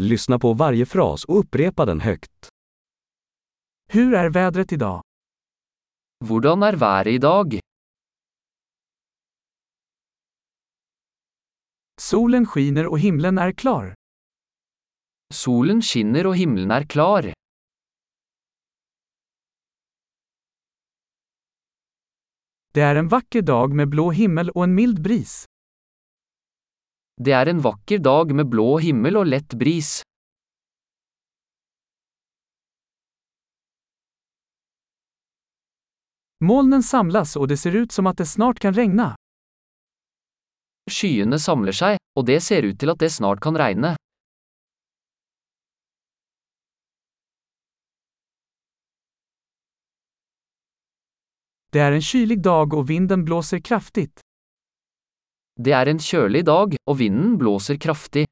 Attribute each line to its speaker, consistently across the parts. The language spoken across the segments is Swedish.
Speaker 1: Lyssna på varje fras och upprepa den högt.
Speaker 2: Hur är vädret idag?
Speaker 3: Hvordan er været i dag?
Speaker 2: Solen skiner och himlen är klar.
Speaker 3: Solen skinner og himmelen er klar.
Speaker 2: Det är en vacker dag med blå himmel och en mild bris.
Speaker 3: Det er en vakker dag med blå himmel og lett bris.
Speaker 2: Molnen samlas och det ser ut som att det snart kan regna.
Speaker 3: Skyene samler seg, og det ser ut til at det snart kan regne.
Speaker 2: Det är en kylig dag och vinden blåser kraftigt.
Speaker 3: Det er en kjølig dag, og vinden blåser kraftig.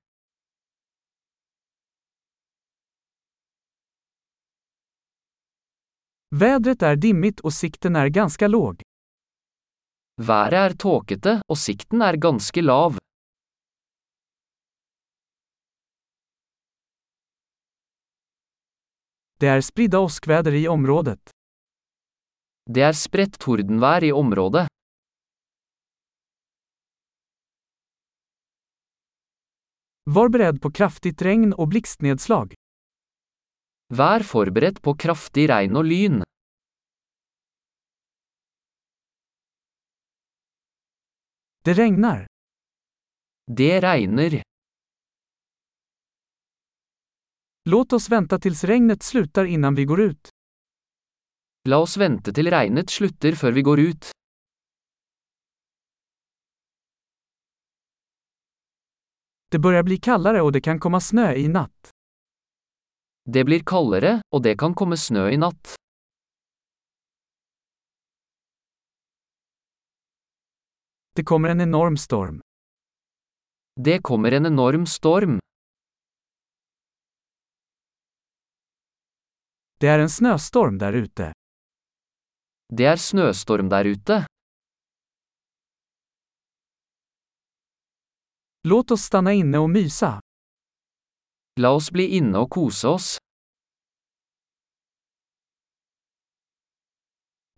Speaker 2: Vädret är dimmigt och sikten är ganska låg.
Speaker 3: Været er tåkete, og sikten er ganske lav.
Speaker 2: Det är spridda åskväder i området.
Speaker 3: Det er spredt tordenvær i området.
Speaker 2: Var beredd på kraftigt regn och blixtnedslag.
Speaker 3: Vær forberedt på kraftig regn og lyn.
Speaker 2: Det regnar.
Speaker 3: Det regner.
Speaker 2: Låt oss vänta tills regnet slutar innan vi går ut.
Speaker 3: La oss vente til regnet slutter før vi går ut.
Speaker 2: Det börjar bli kallare och det kan komma snö i natt.
Speaker 3: Det blir kaldere, og det kan komme snø i natt.
Speaker 2: Det kommer en enorm storm.
Speaker 3: Det kommer en enorm storm.
Speaker 2: Det är en snöstorm där ute.
Speaker 3: Det er snøstorm der ute.
Speaker 2: Låt oss stanna inne och mysa.
Speaker 3: La oss bli inne og kose oss.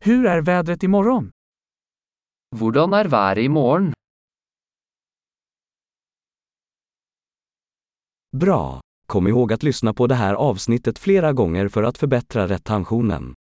Speaker 2: Hur är vädret imorgon?
Speaker 3: Hvordan er været i morgen?
Speaker 1: Bra! Kom ihåg att lyssna på det här avsnittet flera gånger för att förbättra retentionen.